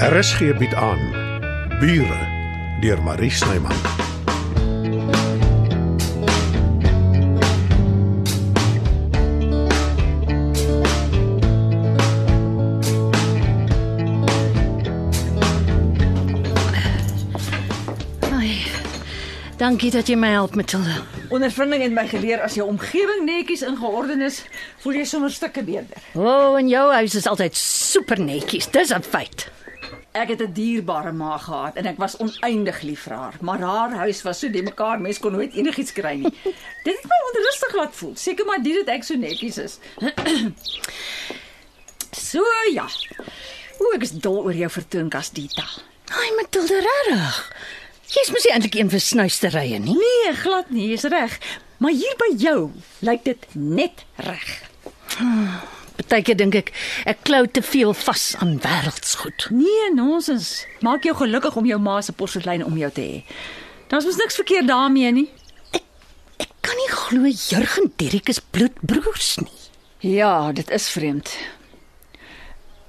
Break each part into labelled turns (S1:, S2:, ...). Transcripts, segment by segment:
S1: RSG bied aan Bure deur Marie Snyman.
S2: Ai. Dankie dat jy my help, Matilda.
S3: Ondervinding het my geleer as jou omgewing netjies ingeorden is, voel jy sommer stukke beter.
S2: O, oh, en jou huis is altyd super netjies. Dis 'n feit.
S3: Ek het 'n dierbare ma gehad en ek was oneindig lief vir haar, maar haar huis was so die mekaar, mens kon nooit enigiets kry nie. Dit het my onrustig laat voel. Seker maar dit dat ek so netjies is. so ja. O, ek is dol oor jou vertoonkas Dita.
S2: Ai, Matilda, regtig. Jy's mos nie eintlik een vir snuisterye nie.
S3: Nee, glad nie, jy's reg. Maar hier by jou lyk dit net reg.
S2: Partykeer dink ek ek klou te veel vas aan wêreldsgoed.
S3: Nee, nonsens. Maak jou gelukkig om jou ma se porselein om jou te hê. Daar's mos niks verkeerd daarmee nie.
S2: Ek kan nie glo Jurgen Dirk is bloedbroers nie.
S3: Ja, dit is vreemd.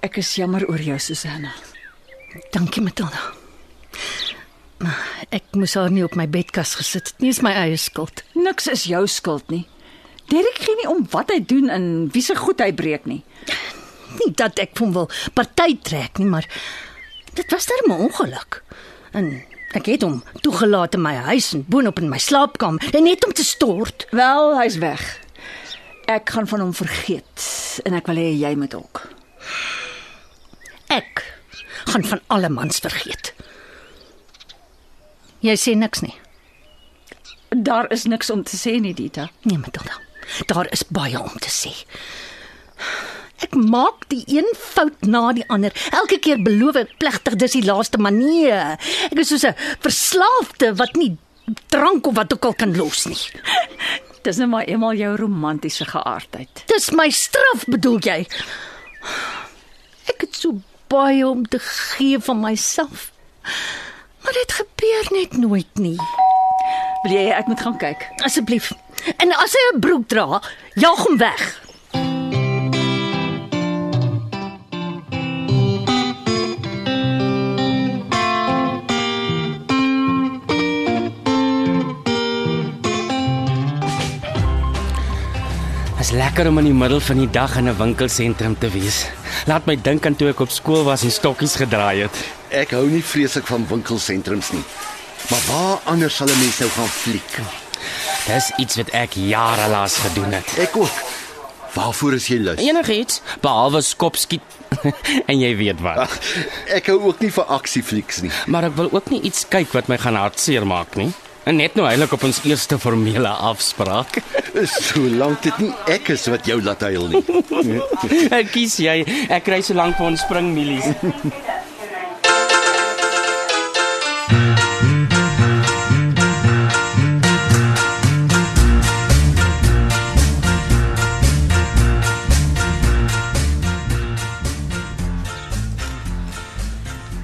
S3: Ek is jammer oor jou, Susanna.
S2: Dankie, Matilda. Maar ek moes haar nie op my bedkas gesit het nie. Dis my eie skuld.
S3: Niks is jou skuld nie. Derek gee nie om wat hy doen en wie se goed hy breek nie.
S2: Nie dat ek hom wil party trek nie, maar dit was darem 'n ongeluk. En ek het hom toegelaat in my huis en boonop in my slaapkamer, en net om te stort.
S3: Wel, hy's weg. Ek gaan van hom vergeet en ek wil hê jy moet ook.
S2: Ek gaan van alle mans vergeet. Jy sê niks nie.
S3: Daar is niks om te sê nie, Dita.
S2: Nee, Matilda. Daar is baie om te sê. Ek maak die een fout na die ander. Elke keer beloof ek plegtig dis die laaste manier. Ek is soos 'n verslaafde wat nie drank of wat ook al kan los nie.
S3: Dis nou maar eenmal jou romantiese geaardheid.
S2: Dis my straf, bedoel jy? Ek het so baie om te gee van myself. Maar dit gebeur net nooit nie.
S3: Wil jy ek moet gaan kyk?
S2: Asseblief. En as hy 'n broek dra, jaag hom weg.
S4: Is lekker om in die middel van die dag in 'n winkelsentrum te wees. Laat my dink aan toe ek op skool was en stokkies gedraai het.
S5: Ek hou nie vreeslik van winkelsentrums nie. Maar waar anders sal 'n mens nou gaan fliek?
S4: Dis iets wat ek jare lank gedoen het.
S5: Ek ook. Waarvoor is jy
S4: Ja.
S5: lus?
S4: Enigiets behalwe skopskiet en jy weet wat.
S5: Ag, ek hou ook nie van aksieflieks nie.
S4: Maar ek wil ook nie iets kyk wat my gaan hartseer maak nie. En net nou heilig op ons eerste formele afspraak.
S5: Solank dit nie ek is wat jou laat huil nie.
S4: Ek kies jy, ek kry so lank vir ons springmielies.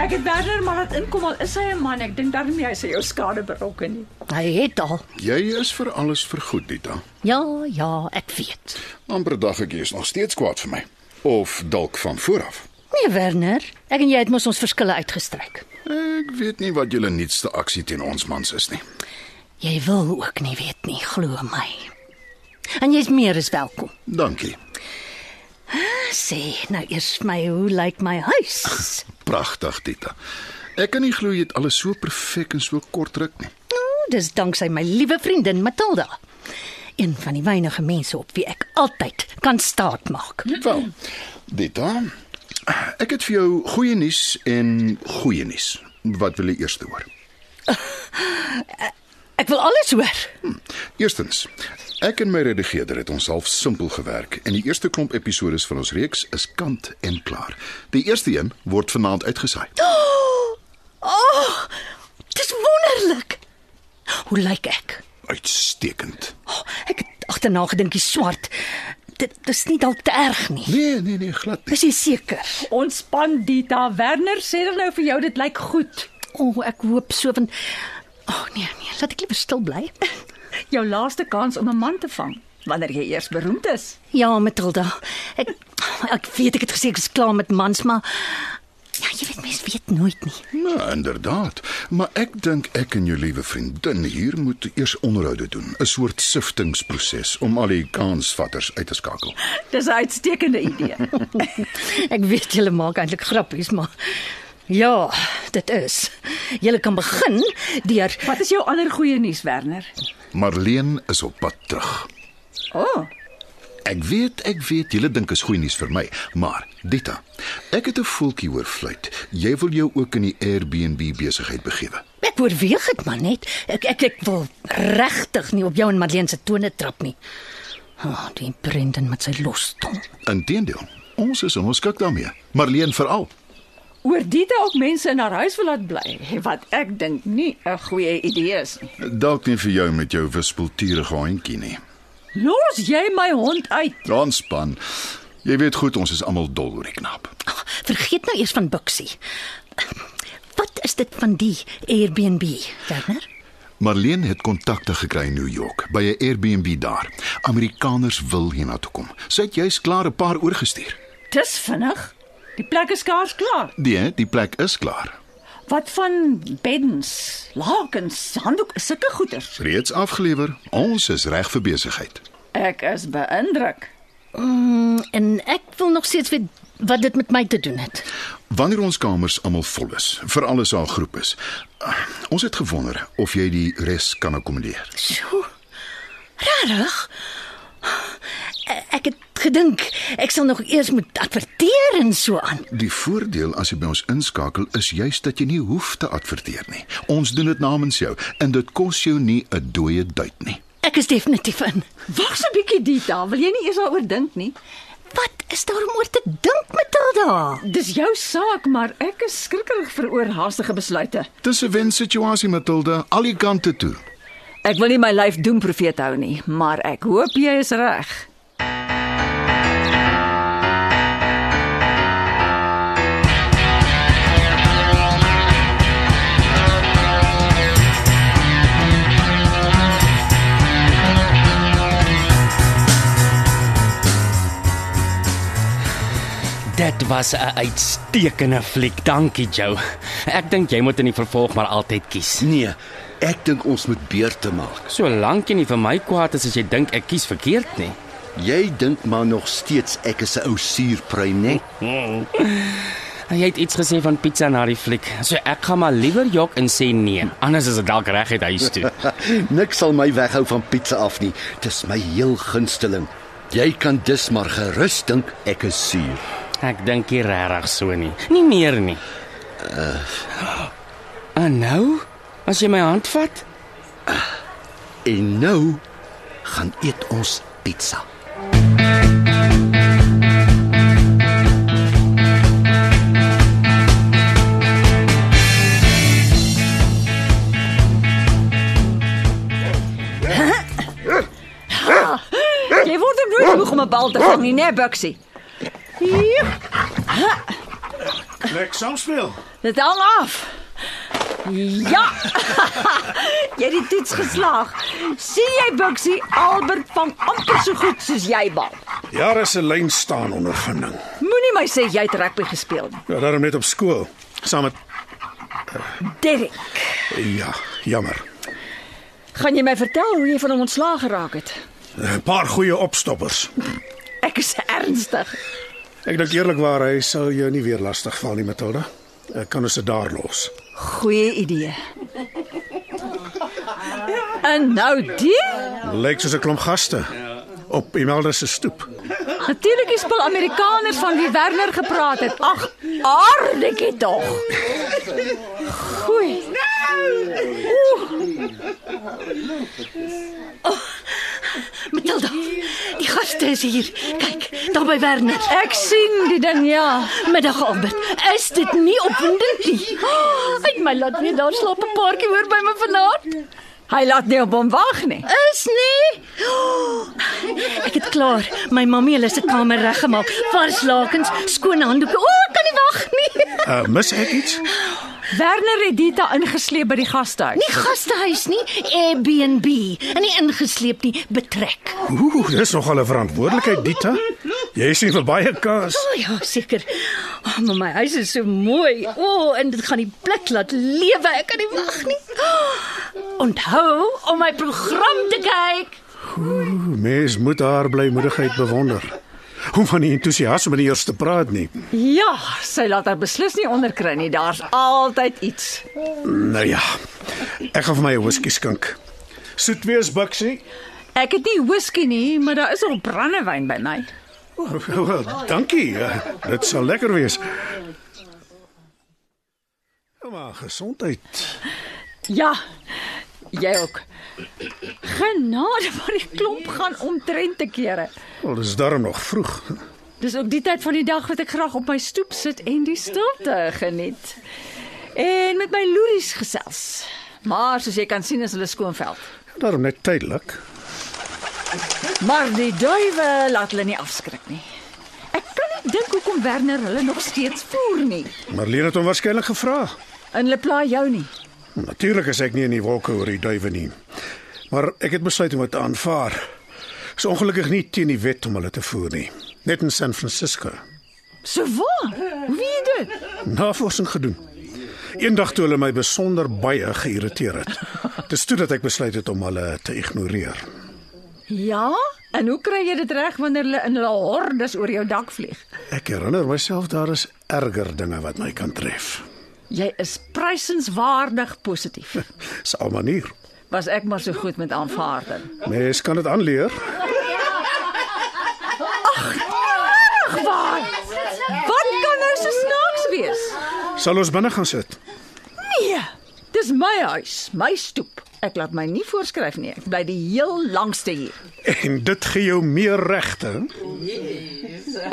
S3: Ek het Werner maar laat inkom al is hy 'n man. Ek dink daarmee hy sy jou skade berokken nie.
S2: Hy het al.
S6: Jy is vir alles vergoed, Dita.
S2: Ja, ja, ek weet.
S6: Amper dag ek is nog steeds kwaad vir my. Of dalk van vooraf.
S2: Nee, Werner, ek en jy het mos ons verskille uitgestryk.
S6: Ek weet nie wat julle nuutste aksie teen ons mans is nie.
S2: Jy wil ook nie weet nie, glo my. En jy's meer as welkom.
S6: Dankie.
S2: Sê nou eers vir my, hoe lyk my huis?
S6: Pragtig, Dita. Ek kan nie glo jy het alles so perfek in so kort ruk nie.
S2: Nou, dis danksy my liewe vriendin Matilda. Een van die weinige mense op wie ek altyd kan staatmaak.
S6: Wel, Dita, ek het vir jou goeie nuus en goeie nuus. Wat wil jy eers hoor?
S2: Ek wil alles hoor.
S6: Eerstens, ek en my redigeerder het ons half simpel gewerk en die eerste klomp episode van ons reeks is kant en klaar. Die eerste een word vanaand uitgesaai.
S2: O, oh, dis wonderlik. Hoe lyk ek?
S6: Uitstekend.
S2: Oh, ek het agterna gedink die swart. Dit dis nie dalk te erg nie.
S6: Nee, nee, nee, glad nie.
S2: Is jy seker?
S3: Ontspan Dita. Werner sê dan nou vir jou dit lyk goed.
S2: O, oh, ek hoop so want O oh, nee nee, laat ek liewer stil bly.
S3: Jou laaste kans om 'n man te vang wanneer jy eers beroemd is.
S2: Ja, Matilda. Ek ek weet ek het gesê ek is klaar met mans, maar Ja, jy weet mens weet nooit nie.
S6: Nou, inderdaad. Maar ek dink ek en jou liewe vriendin hier moet eers onderhoude doen, 'n soort siftingsproses om al die kansvatters uit te skakel.
S3: Dis 'n uitstekende idee.
S2: Ek weet julle maak eintlik grappies, maar ja, dit is. Julle kan begin deur
S3: Wat is jou ander goeie nuus, Werner?
S6: Marleen is op pad terug.
S3: O, oh,
S6: Ek weet, ek weet julle dink is goeie nuus vir my, maar Dita, ek het 'n voeltjie hoor fluit. Jy wil jou ook in die Airbnb besigheid begewe.
S2: Ek oorweeg dit maar net. Ek ek ek wil regtig nie op jou en Madeleine se tone trap nie. Ah, oh, die Brendan met sy los tong.
S6: Inteendeel, ons is in ons skik daarmee. Marleen veral.
S3: oor dit ook mense in haar huis wil laat bly, wat ek dink nie 'n goeie idee is nie.
S6: Dalk nie vir jou met jou wispelturige handjie nie.
S3: Los jy my hond uit.
S6: Ontspan. Jy weet goed ons is almal dol oor die knap.
S2: Oh, vergeet nou eers van Buxie. Wat is dit van die Airbnb, Werner?
S6: Marleen het kontakte gekry in New York by 'n Airbnb daar. Amerikaners wil hiernatoe kom. Sy het juis klaar 'n paar oorgestuur.
S3: Dis vinnig. Die plek is skaars klaar.
S6: Nee, die plek is klaar.
S3: Wat van beddens, lakens, handdoek, sulke goeder?
S6: Reeds afgelewer. Ons is reg vir besigheid.
S3: Ek is beïndruk.
S2: Mm, en ek wil nog steeds weet wat dit met my te doen het.
S6: Wanneer ons kamers almal vol is, vir alles haar groep is. ah, Ons het gewonder of jy die res kan akkommodeer.
S2: So. Rarig. Ek het gedink ek sal nog eers moet adverteer en so aan.
S6: Die voordeel as jy by ons inskakel is juis dat jy nie hoef te adverteer nie. Ons doen dit namens jou en dit kos jou nie 'n dooie duit nie.
S2: Ek is definitief in.
S3: Wag so 'n bietjie Dita, wil jy nie eers daaroor dink nie?
S2: Wat is daar om oor te dink, Matilda?
S3: Dis jou saak, maar ek is skrikkerig vir oorhaastige besluite.
S6: Dis 'n wensituasie Matilda, al die kante toe.
S3: Ek wil nie my lyf doen profeet hou nie, maar ek hoop jy is reg.
S4: Dit was 'n uitstekende fliek. Dankie, Joe. Ek dink jy moet in die vervolg maar altyd kies.
S5: Nee, ek dink ons moet beurte maak.
S4: Solank jy nie vir my kwaad is as jy dink ek kies verkeerd nie.
S5: Jy dink maar nog steeds ek is 'n ou suurprui, né?
S4: Jy het iets gesê van pizza na die fliek. So ek gaan maar liewer jok en sê nee. Anders is dit dalk reguit huis toe.
S5: Niks sal my weghou van pizza af nie. Dis my heel gunsteling. Jy kan dus maar gerus dink ek is suur.
S4: Ek dink nie regtig so nie. Nie meer nie. Uh. En nou? As jy my hand vat?
S5: En nou gaan eet ons pizza.
S3: Jy word ook nooit moeg om 'n bal te vang nie, né, Buxie?
S1: Lek saam speel.
S3: Dit hang af. Ja. jy het die toets geslaag. sien jy Buxie Albert van amper so goed soos jy bal.
S1: Jare se lyn staan ondervinding.
S3: Moenie my sê jy het rugby gespeel nie.
S1: Ja, daarom net op skool. Saam met
S3: Derek,
S1: ja, jammer.
S3: gaan jy my vertel hoe jy van hom ontslaag geraak het?
S1: 'n Eh, Paar goeie opstoppers.
S3: Ek is ernstig.
S1: Ek dink eerlikwaar hy sal jou nie weer lastig val nie, Matilda. Ek kan ons dit daar los.
S3: Goeie idee. En nou die?
S1: Lyk soos 'n klomp gaste op Imelda se stoep.
S3: Natuurlik is spel Amerikaners van wie Werner gepraat het. Ag, aardikie tog. Goeie.
S2: Oh, Matilda, die gaste is hier. Kyk, daar by Werner.
S3: Ek sien die ding ja.
S2: Middag Albert. Is dit nie opwindend nie? Uit my laat nie daar slaap 'n paartjie hoor by my vanaand.
S3: Hy laat nie op hom wag nie.
S2: Is nie. Ek het klaar my mammie hulle se kamer reggemaak. Vars lakens, skoon handdoeke. O, ek kan nie wag nie.
S1: Uh, mis ek iets?
S3: Werner het Dita ingesleep by die gastehuis.
S2: Nie gastehuis nie, Airbnb. En nie ingesleep nie, betrek.
S1: Ooh, dis nogal 'n verantwoordelikheid, Dita. Jy sien vir baie kaas.
S2: O ja, seker. Oh, maar my huis is so mooi. O, oh, en dit gaan die blik laat lewe. Ek kan nie wag nie. Onthou om my program te kyk.
S1: Mens moet haar blymoedigheid bewonder. Hoe van die entoesiasme nie eers te praat nie.
S3: Ja, sy laat haar beslis nie onderkry nie. Daar's altyd iets.
S1: Nou ja. Ek gaan vir my 'n whisky skink. Soet wees, Buxie.
S3: Ek het nie whisky nie, maar daar is al brandewyn by my.
S1: Wel, dankie. Eh, Dit sal lekker wees. Ja, Maar gesondheid.
S3: Ja. Jy ook. Genade, maar die klomp gaan omtrent te kere.
S1: Wel, dis darm nog vroeg.
S3: Dis ook die tyd van die dag wat ek graag op my stoep sit en die stilte geniet. En met my loeries gesels. Maar soos jy kan sien is hulle skoonveld.
S1: Daarom net tydelik.
S3: Maar die duwe laat hulle nie afskrik nie. Ek kan nie dink hoekom Werner hulle nog steeds voer nie.
S1: Marlene het hom waarskynlik gevra.
S3: En hulle pla jou nie.
S1: Natuurlik is ek nie in die wolke oor die duwe nie. Maar ek het besluit om dit te aanvaar. Is ongelukkig nie teen die wet om hulle te voer nie. Net in San Francisco.
S3: So waar? Hoe weet jy dit?
S1: Navorsing gedoen. Eendag toe hulle my besonder baie geïrriteer het. Dis toe dat ek besluit het om hulle te ignoreer.
S3: Ja? En hoe kry jy dit reg wanneer hulle in hulle hordes oor jou dak vlieg?
S1: Ek herinner myself daar is erger dinge wat my kan tref.
S3: Jy is prysenswaardig positief.
S1: Dis al manier.
S3: Was ek maar so goed met aanvaarding.
S1: Mens kan dit aanleer.
S3: Ag waar? Wat kan nou so snaaks wees?
S1: Sal ons binne gaan sit?
S3: Nee, dis my huis, my stoep. Ek laat my nie voorskryf nie. Ek bly die heel langste hier.
S1: En dit gee jou meer regte.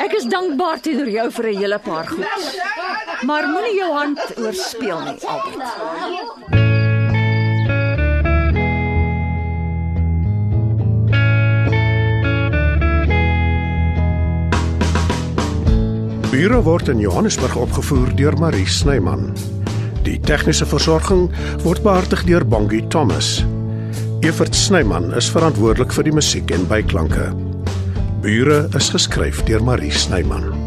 S3: Ek is dankbaar teenoor jou vir 'n hele paar goed. Maar moenie jou hand oorspeel nie, Albert.
S1: Bure word in Johannesburg opgevoer deur Marie Snyman. Die tegniese versorging word behartig deur Bongie Thomas. Evert Snyman is verantwoordelik vir die musiek en byklanke. Bure is geskryf deur Marie Snyman.